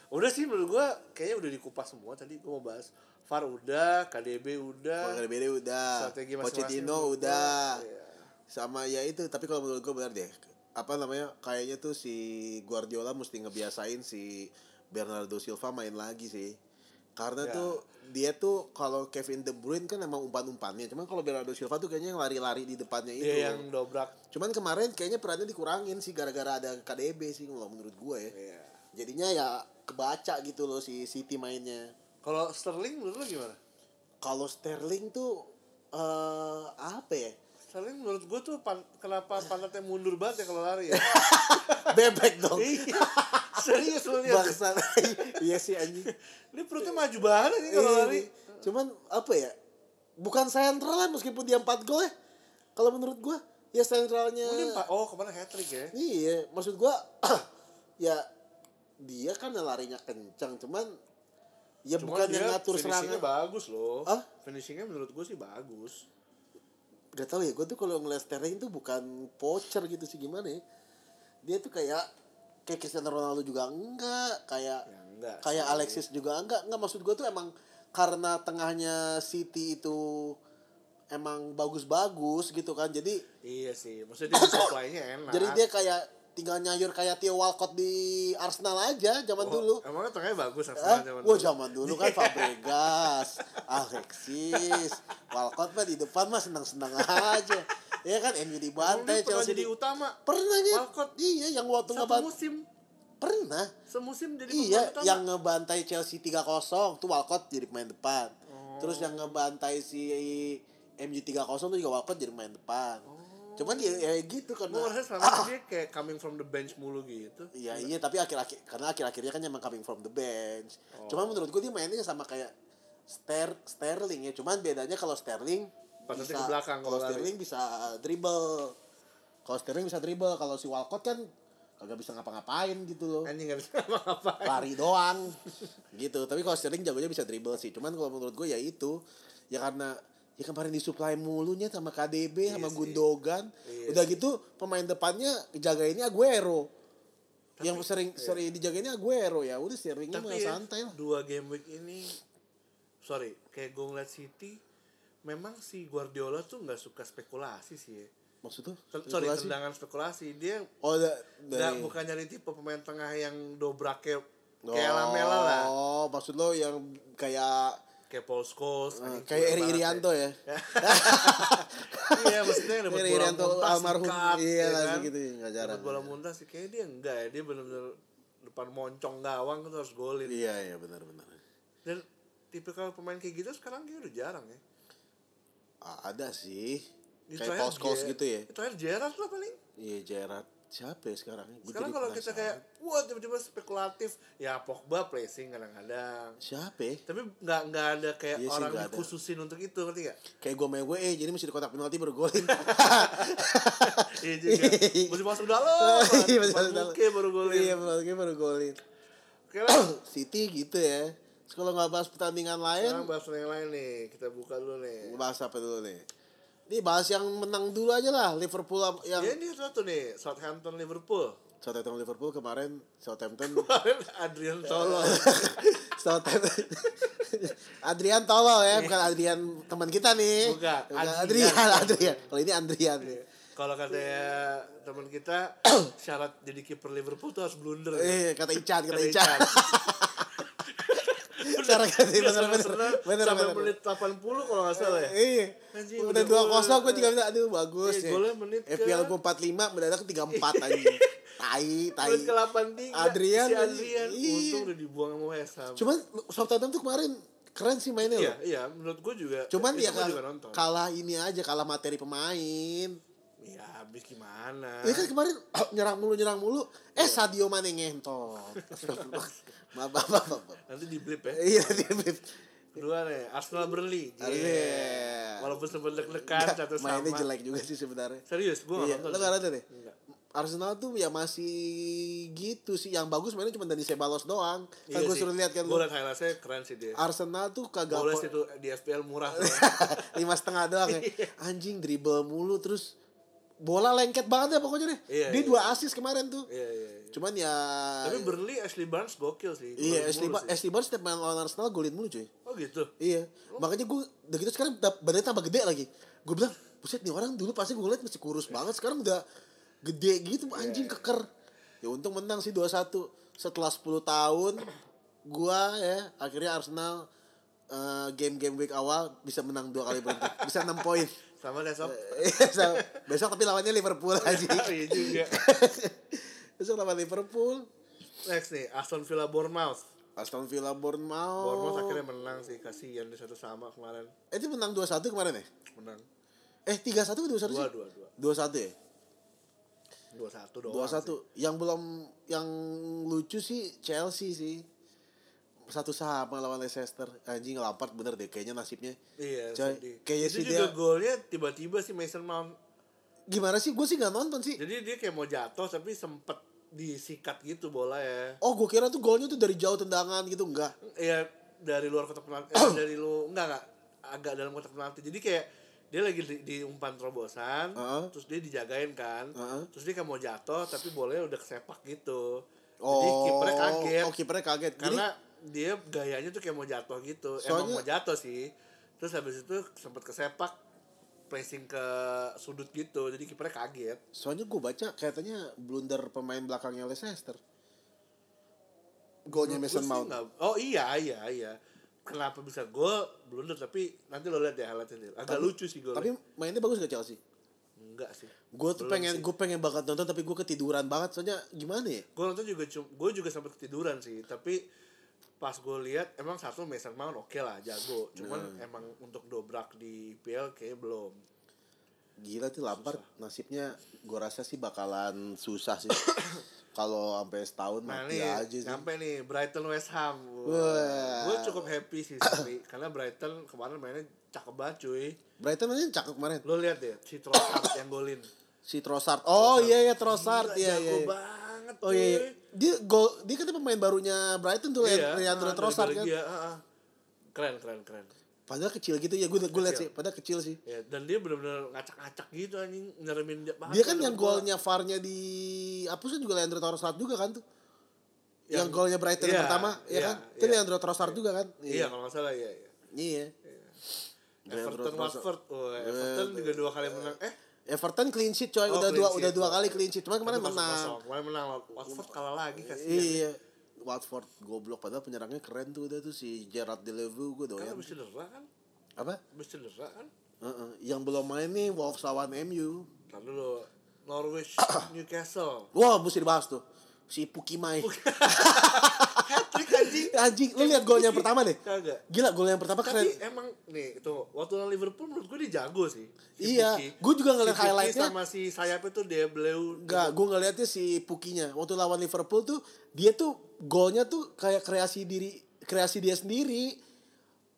S1: udah sih menurut gua kayaknya udah dikupas semua tadi gua mau bahas. VAR udah, KDB udah,
S2: Valverde udah,
S1: Strategi masing-masing
S2: Pochettino
S1: udah.
S2: udah,
S1: Iya.
S2: sama ya itu. Tapi kalau menurut gue benar deh. Apa namanya? Kayaknya tuh si Guardiola mesti ngebiasain si Bernardo Silva main lagi sih.
S1: Ya.
S2: Karena tuh dia tuh kalau Kevin De Bruyne kan emang umpan-umpannya. Cuman kalau Bernardo Silva tuh kayaknya yang lari-lari di depannya itu.
S1: dia Iya, yang dobrak.
S2: Cuman kemarin kayaknya perannya dikurangin sih gara-gara ada KDB sih kalau menurut gue ya.
S1: Iya.
S2: Jadinya ya kebaca gitu loh si City mainnya.
S1: Kalau Sterling menurut lu gimana?
S2: Kalau Sterling tuh eh apa ya?
S1: Sterling menurut gua tuh pan- kenapa pantatnya mundur banget ya kalau lari ya?
S2: Bebek dong.
S1: Iya. Serius lu lihat.
S2: Bangsa. iya sih anjing.
S1: Ini perutnya maju banget nih kalau
S2: Iya,
S1: lari.
S2: nih. Cuman apa ya? Bukan sentral lah meskipun dia 4 gol ya. Kalau menurut gue ya sentralnya
S1: Mungkin Pak, oh kemarin hat trick ya.
S2: Iya, maksud gua ya dia kan larinya kencang, cuman ya
S1: Cuman
S2: bukan yang
S1: dia
S2: ngatur
S1: finishingnya
S2: serangan.
S1: bagus loh.
S2: Hah?
S1: Finishingnya menurut gua sih bagus.
S2: Gak tau ya, gue tuh kalau ngeliat Sterling tuh bukan pocher gitu sih gimana ya. Dia tuh kayak kayak Cristiano Ronaldo juga enggak, kayak
S1: Ya, enggak
S2: kayak
S1: sih.
S2: Alexis juga enggak. Enggak maksud gue tuh emang karena tengahnya City itu emang bagus-bagus gitu kan. Jadi
S1: Iya sih, maksudnya dia supply-nya enak.
S2: jadi dia kayak tinggal nyayur kayak Theo Walcott di Arsenal aja zaman
S1: Oh,
S2: dulu.
S1: Emangnya tengahnya bagus Arsenal
S2: Eh,
S1: zaman
S2: wah zaman dulu kan Fabregas, Alexis, Walcott mah di depan mah senang-senang aja. Ya kan MU
S1: Emang dia
S2: dibantai
S1: pernah
S2: Chelsea
S1: jadi
S2: di...
S1: utama.
S2: Pernah kan?
S1: Walcott.
S2: Iya, yang waktu
S1: Satu
S2: ngebantai
S1: musim,
S2: pernah.
S1: semusim jadi pemain
S2: iya,
S1: utama.
S2: yang ngebantai Chelsea 3-0 tuh Walcott jadi pemain depan.
S1: Oh.
S2: Terus yang ngebantai si MU 3-0 tuh juga Walcott jadi pemain depan.
S1: Oh.
S2: Cuman ya, ya gitu
S1: Gue
S2: karena
S1: ngerasa selama itu dia kayak coming from the bench mulu gitu.
S2: Iya iya tapi akhir-akhir karena akhir-akhirnya kan emang coming from the bench.
S1: Oh.
S2: Cuman menurut gue dia mainnya sama kayak Ster Sterling ya. Cuman bedanya kalau Sterling
S1: Pantatnya ke belakang
S2: kalau
S1: kalau lari.
S2: Sterling bisa dribble. Kalau Sterling bisa dribble, kalau si Walcott kan kagak bisa ngapa-ngapain gitu loh.
S1: Anjing gak bisa ngapa-ngapain.
S2: Lari doang. gitu. Tapi kalau Sterling jagonya bisa dribble sih. Cuman kalau menurut gue ya itu ya karena ya kemarin disuplai mulunya sama KDB sama
S1: sih.
S2: Gundogan.
S1: Iya
S2: Udah gitu pemain depannya jagainnya Aguero yang sering sering dijagainnya Aguero ya udah seringnya mah
S1: iya. Tapi ya,
S2: santai lah
S1: dua game week ini, sorry, kayak gue ngeliat City, memang si Guardiola tuh nggak suka spekulasi sih ya.
S2: maksud tuh
S1: Ten- Sorry,
S2: spekulasi?
S1: tendangan spekulasi. Dia
S2: oh da,
S1: nggak
S2: dari-
S1: bukan nyari tipe pemain tengah yang dobraknya
S2: Oh,
S1: kayak Lamela lah.
S2: oh maksud lo yang kayak
S1: Kayak Paul Scholes.
S2: eh,
S1: anjing,
S2: kayak
S1: gila
S2: Eri
S1: Ah, banget
S2: Irianto ya
S1: iya maksudnya dapat
S2: Eri
S1: bola
S2: Irianto
S1: muntah
S2: almarhum.
S1: sikat,
S2: Iya
S1: ya
S2: lah,
S1: kan?
S2: segitu, nggak jarang.
S1: dapat bola muntah sih kayaknya dia enggak ya dia benar-benar depan moncong gawang tuh harus golin
S2: iya iya benar benar
S1: dan tipikal pemain kayak gitu sekarang kayak udah jarang ya
S2: Ah, ada sih
S1: Di
S2: kayak
S1: terakhir
S2: Paul Scholes
S1: Ger-
S2: gitu ya
S1: terakhir Gerrard lah paling
S2: iya Gerard siapa ya sekarang Gua
S1: sekarang
S2: jadi
S1: kalau kita
S2: penasaran.
S1: kayak wah tiba-tiba spekulatif ya Pogba placing kadang-kadang
S2: siapa ya?
S1: tapi nggak nggak ada kayak
S2: Iya sih,
S1: orang
S2: nggak ada.
S1: dikhususin untuk itu ngerti nggak
S2: kayak gue main gue eh jadi mesti di kotak penalti baru golin
S1: iya juga masih masuk dalam
S2: Iya,
S1: masih
S2: benar,
S1: masuk
S2: benar.
S1: baru golin
S2: iya baru baru golin
S1: oke lah
S2: City gitu ya Terus kalau nggak bahas pertandingan lain
S1: sekarang bahas yang lain nih kita buka dulu nih
S2: bahas apa dulu nih? Ini bahas yang menang dulu aja lah Liverpool am- yang
S1: Ya ini satu nih, Southampton Liverpool.
S2: Southampton Liverpool kemarin Southampton
S1: Kemarin Adrian Solo.
S2: Southampton Adrian tolol ya bukan Adrian teman kita nih
S1: Bukan,
S2: Adrian
S1: Adrian. Iya.
S2: Adrian kalau ini Adrian
S1: Kalau katanya teman kita syarat jadi kiper Liverpool tuh harus blunder.
S2: eh kata Ican kata
S1: Kata
S2: Ican
S1: Ican.
S2: cara kata
S1: Dia
S2: bener bener
S1: senang-senang
S2: Iya, bener
S1: sampai
S2: bener
S1: menit 80 kalau nggak salah ya.
S2: Iya.
S1: Anjing,
S2: Udah
S1: udah
S2: dua kosong gue
S1: gol.
S2: juga bilang aduh bagus
S1: Iya,
S2: ya.
S1: golnya menit ke- Iya.
S2: FPL gue 45 mendadak 34 anjing. Tai tai.
S1: Menit ke 83
S2: Adrian
S1: si Adrian
S2: tadi. Iya.
S1: untung udah dibuang sama West Ham.
S2: Cuman Southampton tuh kemarin keren sih mainnya
S1: iya,
S2: loh.
S1: iya, menurut gue juga.
S2: ya? Cuman
S1: itu
S2: ya
S1: gua
S2: kal-
S1: juga nonton.
S2: kalah ini aja kalah materi pemain.
S1: Iya, habis gimana?
S2: Ini kan kemarin nyerang mulu nyerang mulu.
S1: Iya.
S2: Eh Sadio Mane ngentot. maaf maaf maaf. maaf.
S1: Nanti di blip ya.
S2: Iya dia bener.
S1: Kedua nih, Arsenal Burnley. Iya.
S2: Iya.
S1: Walaupun sempat deg-degan satu sama.
S2: mainnya jelek juga sih sebenarnya.
S1: Serius, gue
S2: Iya,
S1: nggak nonton.
S2: lo nggak nonton ya?
S1: Enggak.
S2: Arsenal tuh ya masih gitu sih. Yang bagus mainnya cuma Dani Ceballos doang.
S1: Iya
S2: Kan gue suruh lihat kan.
S1: Gue
S2: lu. Ah,
S1: liat highlightsnya keren sih dia
S2: Arsenal tuh kagak
S1: Goles
S2: po-
S1: itu di FPL murah tuh.
S2: lima setengah doang ya.
S1: Iya.
S2: Anjing dribble mulu terus bola lengket banget ya pokoknya deh.
S1: Iya,
S2: Dia
S1: iya.
S2: dua asis kemarin tuh.
S1: Iya iya iya.
S2: Cuman ya
S1: Tapi Burnley Ashley Barnes gokil sih
S2: Iya,
S1: Golin
S2: Ashley,
S1: mulu
S2: Bar-
S1: sih.
S2: Ashley Barnes setiap main lawan Arsenal golin mulu cuy.
S1: Oh gitu
S2: Iya. Makanya gue udah gitu sekarang ta- badannya tambah gede lagi. Gue bilang, buset nih orang dulu pasti gue liat masih kurus banget. Sekarang udah gede gitu
S1: Iya,
S2: anjing keker. Ya untung menang sih 2-1. Setelah 10 tahun gua ya akhirnya Arsenal eh, game-game week awal bisa menang dua kali beruntun. Bisa 6 poin.
S1: Sama deh Sob
S2: Iya, so, besok tapi lawannya Liverpool aja.
S1: Iya juga
S2: besok lawan Liverpool.
S1: Next nih Aston Villa Bournemouth
S2: Aston Villa Bournemouth.
S1: Bournemouth akhirnya menang sih Kasihan dia satu sama kemarin
S2: Eh, itu menang 2-1 kemarin ya?
S1: Menang
S2: Eh, 3-1 atau 2-1 sih?
S1: Dua dua dua
S2: 2-1 ya?
S1: Dua satu doang
S2: dua satu yang belum yang lucu sih Chelsea sih satu sama lawan Leicester anjing Lampard bener deh kayaknya nasibnya
S1: sih. Iya
S2: Coy,
S1: sedih.
S2: kayaknya
S1: Itu
S2: sih
S1: juga
S2: dia-
S1: golnya tiba-tiba sih Mason Mount
S2: gimana sih gue sih nggak nonton sih
S1: Jadi dia kayak mau jatuh Tapi sempet disikat gitu bola ya
S2: oh gue kira tuh golnya tuh dari jauh tendangan gitu enggak
S1: Iya, ya dari luar kotak penalti eh, dari lu enggak enggak agak dalam kotak penalti jadi kayak dia lagi di, di umpan terobosan
S2: Heeh.
S1: terus dia dijagain kan
S2: Heeh.
S1: terus dia kayak mau jatuh tapi bolanya udah kesepak gitu
S2: Oh,
S1: jadi kipernya kaget
S2: Oh, kipernya kaget. Jadi-
S1: karena dia gayanya tuh kayak mau jatuh gitu
S2: Soalnya-
S1: emang mau jatuh sih terus habis itu sempat kesepak pressing ke sudut gitu jadi kipernya kaget
S2: Soalnya gue baca katanya blunder pemain belakangnya Leicester. Golnya
S1: Menurut
S2: Oh, Mason
S1: gua sih
S2: Mount.
S1: nggak- oh iya iya iya kenapa bisa gol blunder tapi nanti lo lihat ya highlightnya deh. agak lucu sih golnya
S2: Tapi mainnya bagus gak Chelsea?
S1: enggak sih
S2: Gue tuh
S1: Belum
S2: pengen
S1: sih.
S2: gue pengen banget nonton tapi gue ketiduran banget soalnya gimana ya?
S1: gue nonton juga gue juga sempat ketiduran sih tapi pas gue lihat emang satu Mason Mount oke lah jago cuman
S2: Nah.
S1: emang untuk dobrak di IPL kayaknya belum
S2: Gila tuh Lampard nasibnya gue rasa sih bakalan susah sih. Kalau sampai setahun
S1: nah
S2: mati
S1: nih
S2: aja sih.
S1: sampai nih Brighton West Ham
S2: Wah.
S1: gue cukup happy sih tapi karena Brighton kemarin mainnya cakep banget cuy
S2: Brighton aja cakep kemarin.
S1: lo lihat deh si Trossard yang golin
S2: Si Trossard. Oh iya iya Trossard
S1: Gila,
S2: iya iya.
S1: jago
S2: iya.
S1: banget
S2: Oh iya, iya.
S1: cuy.
S2: Dia gol dia kan pemain barunya Brighton tuh
S1: Iya,
S2: iya, Leandro
S1: ah, dari
S2: Trossard kan.
S1: Belgia, ah, ah. keren keren keren
S2: Padahal kecil gitu ya gue gue liat
S1: Kecil.
S2: sih, padahal kecil sih.
S1: ya dan dia benar-benar ngacak-ngacak gitu anjing nyeremin
S2: Dia kan yang
S1: golnya
S2: golnya VAR-nya di apa sih juga Leandro Trossard juga kan tuh. Yang,
S1: Yang-
S2: golnya Brighton
S1: iya,
S2: yang pertama ya
S1: iya,
S2: kan? Itu
S1: iya.
S2: Leandro Trossard juga kan?
S1: Iya, kalau nggak salah iya. iya.
S2: Iya.
S1: Everton
S2: Leandro Trossard.
S1: Watford, wah Everton juga dua kali menang. Eh,
S2: Everton clean sheet coy,
S1: Oh,
S2: udah
S1: clean
S2: dua
S1: sheet.
S2: udah dua kali clean sheet. Cuma Kan kemarin
S1: tapi
S2: menang.
S1: kosong-kosong. Kemarin menang lawan Watford kalah lagi kasihan.
S2: Iya. Watford goblok padahal penyerangnya keren tuh udah tuh si Gerard Delevingne gue
S1: Kan
S2: doyan.
S1: habis cedera kan?
S2: Apa?
S1: Habis cedera kan?
S2: Heeh. Yang belum main nih Wolves lawan MU.
S1: Ntar dulu Norwich Newcastle.
S2: Wah, mesti dibahas tuh. Si Pukimai.
S1: Hat-trick anjing.
S2: Anjing, lu lihat golnya yang pertama deh.
S1: Kagak.
S2: Gila, gol yang pertama keren.
S1: Tapi emang nih itu waktu lawan Liverpool menurut gue dia jago sih. Si
S2: Iya,
S1: Puki.
S2: gua juga ngeliat
S1: Si Puki
S2: highlightnya.
S1: sama si sayap itu dia beliau
S2: Enggak, gue ngelihatnya si Pukinya. Waktu lawan Liverpool tuh, dia tuh golnya tuh kayak kreasi diri, kreasi dia sendiri.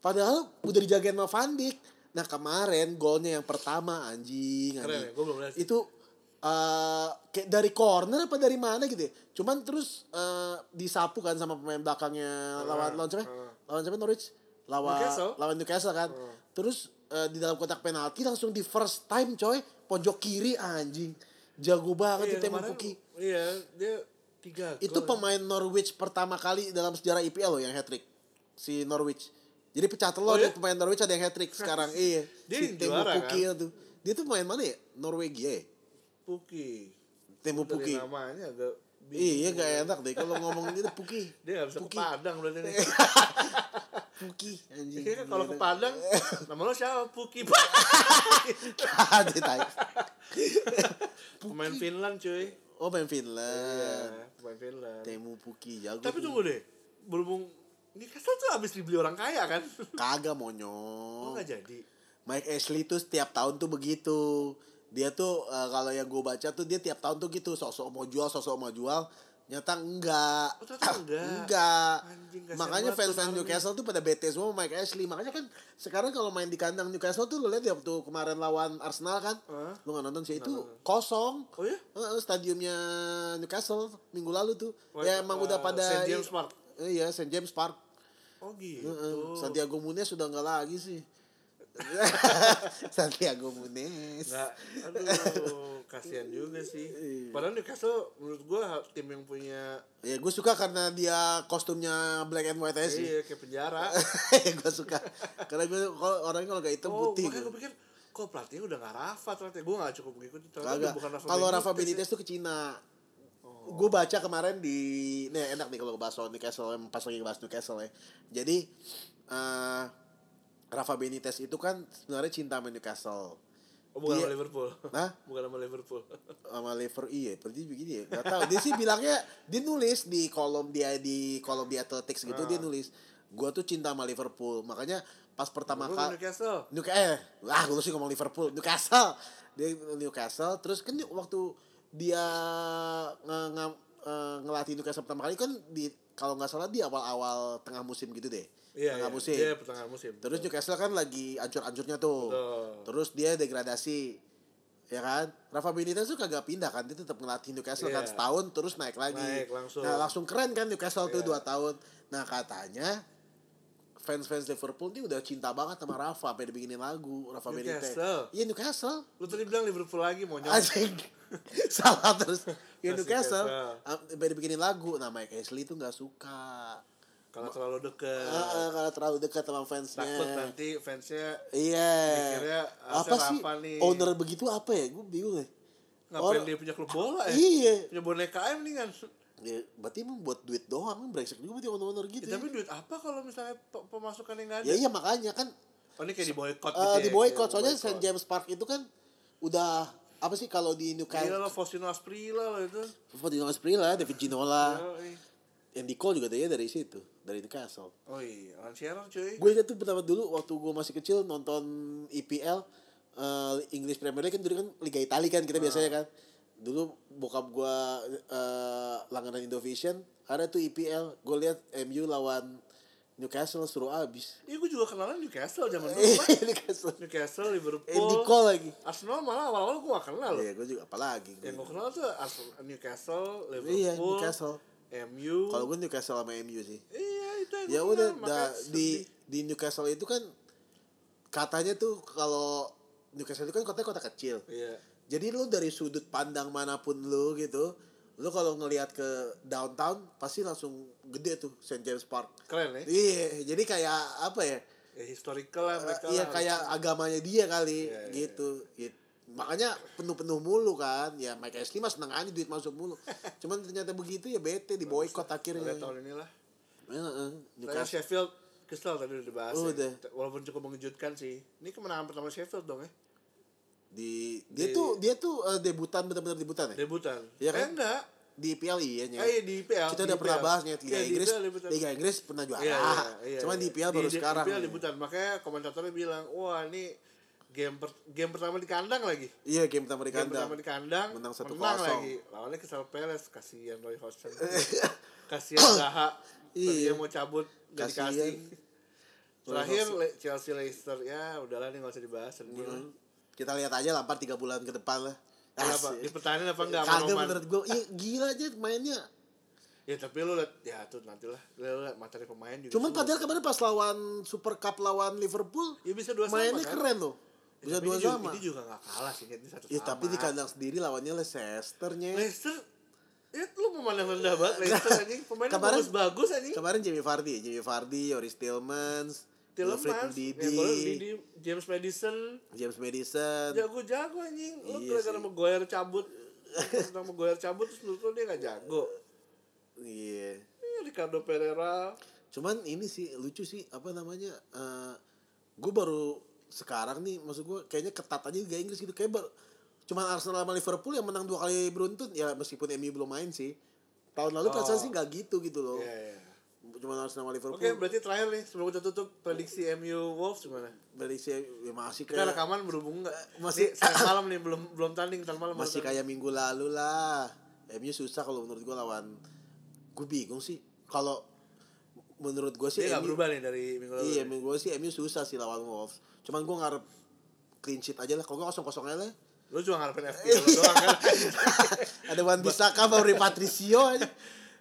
S2: Padahal udah dijagain sama Van Dijk. Nah kemarin golnya yang pertama anjing,
S1: Keren
S2: anjing.
S1: ya, gua belum lihat sih.
S2: Itu eh, kayak dari corner apa dari mana gitu ya. Cuman terus eh, disapu kan sama pemain belakangnya lawan lawan siapa? ya?
S1: heeh.
S2: Lawan siapa Norwich? Lawan
S1: Ah, Newcastle. Ah.
S2: lawan Newcastle kan. Terus eh, di dalam kotak penalti langsung di first time coy, pojok kiri anjing. Jago
S1: Iya,
S2: banget itu emang
S1: kemarin-
S2: Puki.
S1: Iya, dia tiga
S2: Itu
S1: gol.
S2: pemain Norwich pertama kali dalam sejarah IPL loh yang hat trick. Si Norwich. Jadi pecah telur
S1: Oh, iya?
S2: deh pemain Norwich ada yang hat trick sekarang. Iya.
S1: Dia
S2: si
S1: yang juara, kan?
S2: Puki itu. Dia tuh pemain mana ya? Norwegia ya?
S1: Puki.
S2: Temu
S1: Dari
S2: Puki.
S1: namanya agak
S2: Iya gak enak deh kalau ngomong dia tuh Puki.
S1: dia nggak bisa
S2: Puki.
S1: ke Padang berarti nih.
S2: Puki anjing.
S1: Kayaknya kalau
S2: Iya.
S1: ke Padang nama lo siapa? Puki.
S2: Ah, dia tai.
S1: Pemain Finland cuy.
S2: Oh main Finland.
S1: Iya, pemain Finland.
S2: Temu Puki jago.
S1: Tapi
S2: tuh.
S1: tunggu deh. Berhubung Newcastle tuh abis dibeli orang kaya kan?
S2: kagak
S1: Oh
S2: monyong.
S1: nggak jadi.
S2: Mike Ashley tuh setiap tahun tuh begitu. Dia tuh eh, kalau yang gue baca tuh dia tiap tahun tuh gitu sosok mau jual, sosok mau jual. Nyata enggak.
S1: Oh, ternyata enggak.
S2: Enggak.
S1: Anjing, kasihan
S2: Makanya
S1: banget tuh
S2: fans-fans
S1: Narni.
S2: Newcastle tuh pada bete semua sama Mike Ashley. Makanya kan sekarang kalau main di kandang Newcastle tuh lo lihat ya waktu kemarin lawan Arsenal kan.
S1: Hah?
S2: Lu gak nonton sih itu kosong.
S1: Oh ya?
S2: Heeh, stadiumnya Newcastle minggu lalu tuh.
S1: Oh,
S2: ya emang
S1: eh,
S2: udah pada
S1: St. James Park.
S2: Iya, St. James Park.
S1: Oh
S2: Heeh,
S1: gitu.
S2: Santiago Munez sudah nggak lagi sih. Santiago Munez.
S1: Nggak, aduh, kasihan juga sih.
S2: Iya.
S1: Padahal Newcastle menurut gua tim yang punya
S2: Ya gue suka karena dia kostumnya black and white aja sih.
S1: iya, kayak penjara.
S2: gue suka karena gue kalau orangnya kalau gak hitam
S1: Oh,
S2: putih.
S1: makanya gue pikir kok pelatihnya udah gak Rafa ternyata gue gak cukup mengikuti ternyata
S2: Kagak.
S1: dia bukan Rafa
S2: Kalau
S1: Benitez.
S2: Rafa
S1: Oh.
S2: Benitez tuh ke Cina. Gue baca kemarin di nih enak nih kalau bahas soal Newcastle em, pas lagi bahas Newcastle ya. Jadi eh Rafa Benitez itu kan sebenarnya cinta sama Newcastle.
S1: oh, bukan sama
S2: Dia-
S1: Liverpool
S2: Hah?
S1: bukan sama Liverpool
S2: sama lever iya berarti begini ya nggak tahu dia sih bilangnya dia nulis di kolom dia di kolom di athletics gitu
S1: Ah.
S2: dia nulis gua tuh cinta sama Liverpool makanya pas pertama
S1: Liverpool
S2: kali
S1: Newcastle
S2: Newcastle eh wah gue sih ngomong Liverpool Newcastle dia Newcastle terus kan waktu dia nge- nge- eh, ngelatih Newcastle pertama kali kan di kalau nggak salah di awal-awal tengah musim gitu deh
S1: iya
S2: tengah
S1: iya.
S2: musim
S1: dia pertengahan musim
S2: Terus Newcastle kan lagi ancur-ancurnya tuh.
S1: Betul.
S2: Terus dia degradasi. Ya kan? Rafa Benitez tuh kagak pindah kan, dia tetap ngelatih Newcastle
S1: Iya.
S2: kan setahun terus naik lagi.
S1: Naik langsung.
S2: Nah, langsung keren kan Newcastle tuh
S1: Iya.
S2: dua tahun. Nah, katanya fans-fans Liverpool ini udah cinta banget sama Rafa sampai dibikinin lagu Rafa Benitez.
S1: Newcastle.
S2: Iya Newcastle.
S1: Lu tadi bilang Liverpool lagi mau nyoba.
S2: Anjing. Salah terus. Ya
S1: Masih
S2: Newcastle.
S1: Newcastle.
S2: Ah, Sampai dibikinin lagu. Nah Mike Ashley tuh gak suka.
S1: Kalau terlalu
S2: Ah,
S1: deket.
S2: ah, karena terlalu dekat sama fansnya.
S1: Iya. Takut kan? nanti fansnya
S2: Iya.
S1: Mikirnya, ah,
S2: Apa
S1: si
S2: sih?
S1: Rafa nih.
S2: Owner begitu apa ya? Gue bingung ya.
S1: ngapain
S2: Or-
S1: dia punya klub bola ya?
S2: Iya.
S1: Punya boneka aja mendingan.
S2: Ya, berarti emang buat duit doang. emang Brengsek juga berarti owner-owner gitu.
S1: Ya,
S2: Ya,
S1: tapi duit apa kalau misalnya pe- pemasukan yang nggak ada?
S2: ya iya makanya kan
S1: Oh ini kayak di boykot
S2: eh,
S1: gitu ya?
S2: di boykot. Soalnya
S1: Boycott.
S2: St. James Park itu kan udah apa sih kalau di
S1: Gila
S2: Newcastle
S1: lo Fosino Asprilla lo itu.
S2: Ferdinand Sprilla, David Ginola,
S1: Yoi.
S2: Andy Cole juga dia dari situ, dari Newcastle.
S1: Oh iya, Lanciero cuy.
S2: Gue ingat tuh pertama dulu waktu gue masih kecil nonton EPL eh, English Premier League kan dulu kan Liga Italia kan kita
S1: Ah.
S2: biasanya kan. Dulu bokap gue eh, langganan Indovision ada tuh E EPL. Gue lihat MU lawan Newcastle suruh abis.
S1: Iya gue juga kenalan Newcastle zaman dulu. Pak.
S2: Newcastle.
S1: Newcastle,
S2: Iya. Andy
S1: Liverpool.
S2: Cole lagi.
S1: Arsenal malah awal-awal gue gak kenal loh.
S2: Iya gue juga apalagi.
S1: Yang gue
S2: Gua.
S1: kenal tuh Ars- Newcastle, Oh. Liverpool,
S2: Iya Newcastle.
S1: MU.
S2: Kalau gue Newcastle sama MU sih.
S1: Iya itu yang
S2: ya
S1: gua
S2: udah
S1: kenal,
S2: dah,
S1: makanya
S2: di
S1: sedih.
S2: di Newcastle itu kan katanya tuh kalau Newcastle itu kan kotanya kota kecil
S1: Iya.
S2: jadi lu dari sudut pandang manapun lu gitu lu kalau ngelihat ke downtown pasti langsung gede tuh St James Park
S1: Keren ya?
S2: iya jadi kayak apa ya
S1: ya historical lah mereka
S2: iya
S1: lah.
S2: kayak agamanya dia kali
S1: Iya, iya,
S2: gitu gitu makanya penuh-penuh mulu kan ya Mike Ashley mah seneng aja duit masuk mulu cuman ternyata begitu ya bete di boykot
S1: Udah
S2: akhirnya
S1: tahun inilah.
S2: Heeh,
S1: Saya
S2: Newcastle
S1: Sheffield Crystal tadi udah dibahas
S2: Oh,
S1: ya.
S2: udah.
S1: Walaupun cukup mengejutkan sih Ini kemenangan pertama Sheffield dong ya
S2: di
S1: Di-
S2: dia tuh dia tuh eh, debutan benar-benar debutan ya
S1: Debutan
S2: Iya kan?
S1: Eh enggak
S2: di PL iya nya
S1: Eh, iya, di Iya, IPL
S2: kita udah pernah bahas nih Liga Inggris
S1: Liga
S2: Liga Inggris pernah
S1: Iya,
S2: juara cuman di PL baru sekarang
S1: Di IPL debutan Makanya komentatornya bilang Wah ini game per- game pertama di kandang lagi
S2: iya game pertama di
S1: Game
S2: kandang
S1: pertama di kandang
S2: Menang 1-0.
S1: lagi Lawannya Crystal Palace Kasian Roy Hodgson Kasian Zaha Iya.
S2: Iya.
S1: Dia mau cabut Gak
S2: Kasian.
S1: dikasih
S2: Roy
S1: Terakhir
S2: Hodgson. Hmm.
S1: Le- Chelsea Leicester Ya udahlah nih gak usah dibahas Sedih lah.
S2: kita lihat aja lampar tiga bulan ke depan lah
S1: Kenapa?
S2: Asik.
S1: Dipertahanin apa enggak sama
S2: kagak
S1: Roman?
S2: menurut gue iya gila aja mainnya
S1: Ya tapi lu liat, ya tuh nantilah Lu liat materi pemain juga
S2: cuman
S1: semua.
S2: padahal kemarin pas lawan Super Cup lawan Liverpool
S1: Ya bisa dua sama
S2: mainnya
S1: kan?
S2: keren loh
S1: Ya,
S2: bisa
S1: tapi
S2: dua
S1: ini juga-
S2: sama
S1: Ini juga gak kalah sih Ini satu
S2: ya
S1: sama
S2: tapi di kandang sendiri lawannya Leicesternya
S1: Leicester Ya lu memandang rendah banget Leicester anjing Pemainnya
S2: Nah, Kemarin-
S1: bagus-bagus anjing
S2: Kemarin Jimmy Vardy, Jimmy Vardy, Yoris Tillmans, Wilfried
S1: Tielemans Didi
S2: Ndidi,
S1: ya, James Madison
S2: James Madison.
S1: Ya. Jago-jago anjing Lu
S2: Iya
S1: gara-gara
S2: sih.
S1: mau goyer cabut Tentang mau goyer cabut Terus menurut lu dia gak jago
S2: Iya.
S1: Iya Ricardo Pereira
S2: Cuman ini sih lucu sih apa namanya? eh gue baru sekarang nih maksud gue kayaknya ketat aja Liga Inggris gitu kayak baru cuman Arsenal sama Liverpool yang menang dua kali beruntun ya meskipun MU belum main sih tahun lalu
S1: Oh.
S2: perasaan sih nggak gitu gitu loh
S1: Iya iya
S2: cuman Arsenal sama Liverpool
S1: Oke berarti terakhir nih Sebelum kita tutup Prediksi MU Wolves gimana?
S2: berisi ya masih
S1: Kita
S2: kayak
S1: rekaman berhubung nggak?
S2: Masih-
S1: Nih, siang malam nih belum belum tanding ntar malam. baru
S2: masih
S1: tanding.
S2: kayak minggu lalu lah MU susah kalau menurut gue lawan gue bingung sih kalau menurut gue sih
S1: dia nggak
S2: MU
S1: berubah nih dari minggu lalu.
S2: iya menurut gue sih MU susah sih lawan Wolves cuman gue ngarep clean sheet aja lah kalau nggak kosong kosong aja lah
S1: Lu cuma ngarepin FPL lu doang kan.
S2: ada Wan Bisaka Mauri Patricio aja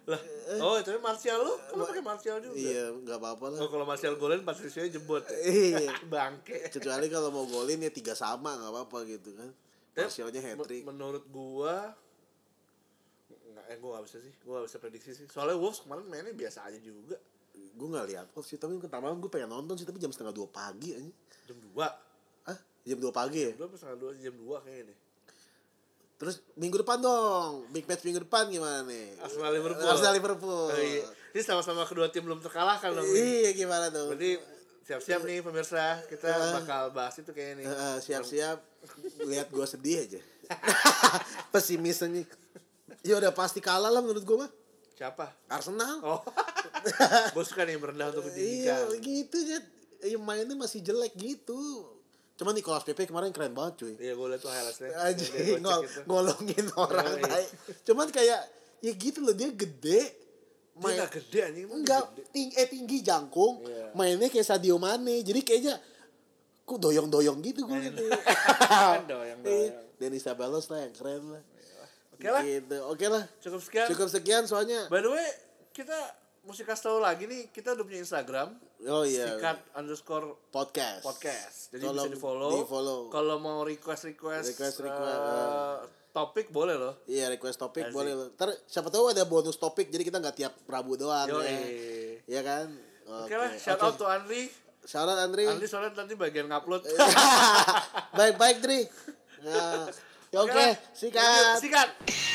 S1: lah. Oh, tapi Martial lu kan lu pakai Martial juga.
S2: iya nggak apa-apa lah
S1: Oh, kalau Martial golin Patricio jebot. Ya?
S2: iya
S1: Bangke.
S2: kecuali kalau mau golin ya tiga sama nggak apa-apa gitu kan
S1: Tapi
S2: Martialnya hat trick
S1: men- Menurut gua nggak eh gua nggak bisa sih. Gua nggak bisa prediksi sih. Soalnya Wolves kemarin mainnya biasa aja juga.
S2: gue nggak lihat Wolves sih tapi kemarin gue pengen nonton sih tapi jam setengah dua pagi aja
S1: Jam 2.
S2: ah jam dua pagi ya
S1: Jam 2 setengah 2 jam 2 kayaknya deh.
S2: Terus minggu depan dong, big match minggu depan gimana nih?
S1: Arsenal Liverpool.
S2: Arsenal Liverpool.
S1: Oh, iya. Ini sama-sama kedua tim belum terkalahkan dong. nih.
S2: Iya gimana tuh?
S1: Berarti siap-siap nih pemirsa, kita bakal bahas itu kayaknya nih.
S2: Heeh, siap-siap lihat gua sedih aja. Pesimis aja. Ya udah pasti kalah lah menurut gua mah.
S1: Siapa?
S2: Arsenal.
S1: Oh. Gue suka nih merendah untuk
S2: iya,
S1: pendidikan.
S2: gitu ya. Ya, mainnya masih jelek gitu. Cuman Nicolas Pepe kemarin keren banget cuy.
S1: Iya, gue liat tuh highlightsnya.
S2: Aja
S1: Dia gocek
S2: ngol
S1: gitu.
S2: ngolongin orang
S1: Iya, iya.
S2: tai. Cuman kayak ya gitu loh dia gede.
S1: Dia
S2: Main,
S1: gak gede anjing. emang dia
S2: Enggak,
S1: gede.
S2: ting eh tinggi jangkung,
S1: Iya.
S2: mainnya kayak Sadio Mane. Jadi kayaknya ku doyong-doyong gitu gue gitu.
S1: Kan doyang, doyang.
S2: Denis Sabalos lah yang keren lah.
S1: Iya. Oke lah.
S2: Gitu. Oke lah.
S1: Cukup sekian.
S2: Cukup sekian soalnya.
S1: By the way, kita mesti kasih tau lagi nih, kita udah punya Instagram.
S2: Oh iya.
S1: sikat underscore
S2: Podcast.
S1: podcast. Jadi
S2: Kalau
S1: bisa di follow.
S2: di-follow.
S1: Kalau mau request request,
S2: Request, request, eh.
S1: topik boleh loh.
S2: Iya request topik
S1: Asik.
S2: boleh. loh. Ntar siapa tahu ada bonus topik jadi kita nggak tiap Rabu doang
S1: Yo,
S2: ya.
S1: eh.
S2: Iya kan?
S1: Oke
S2: Oke.
S1: lah, shout out to Andri.
S2: Shout out Andri.
S1: Andri soalnya nanti bagian ngupload.
S2: Baik-baik Dri. Nah, ya oke,
S1: lah.
S2: sikat.
S1: Sikat.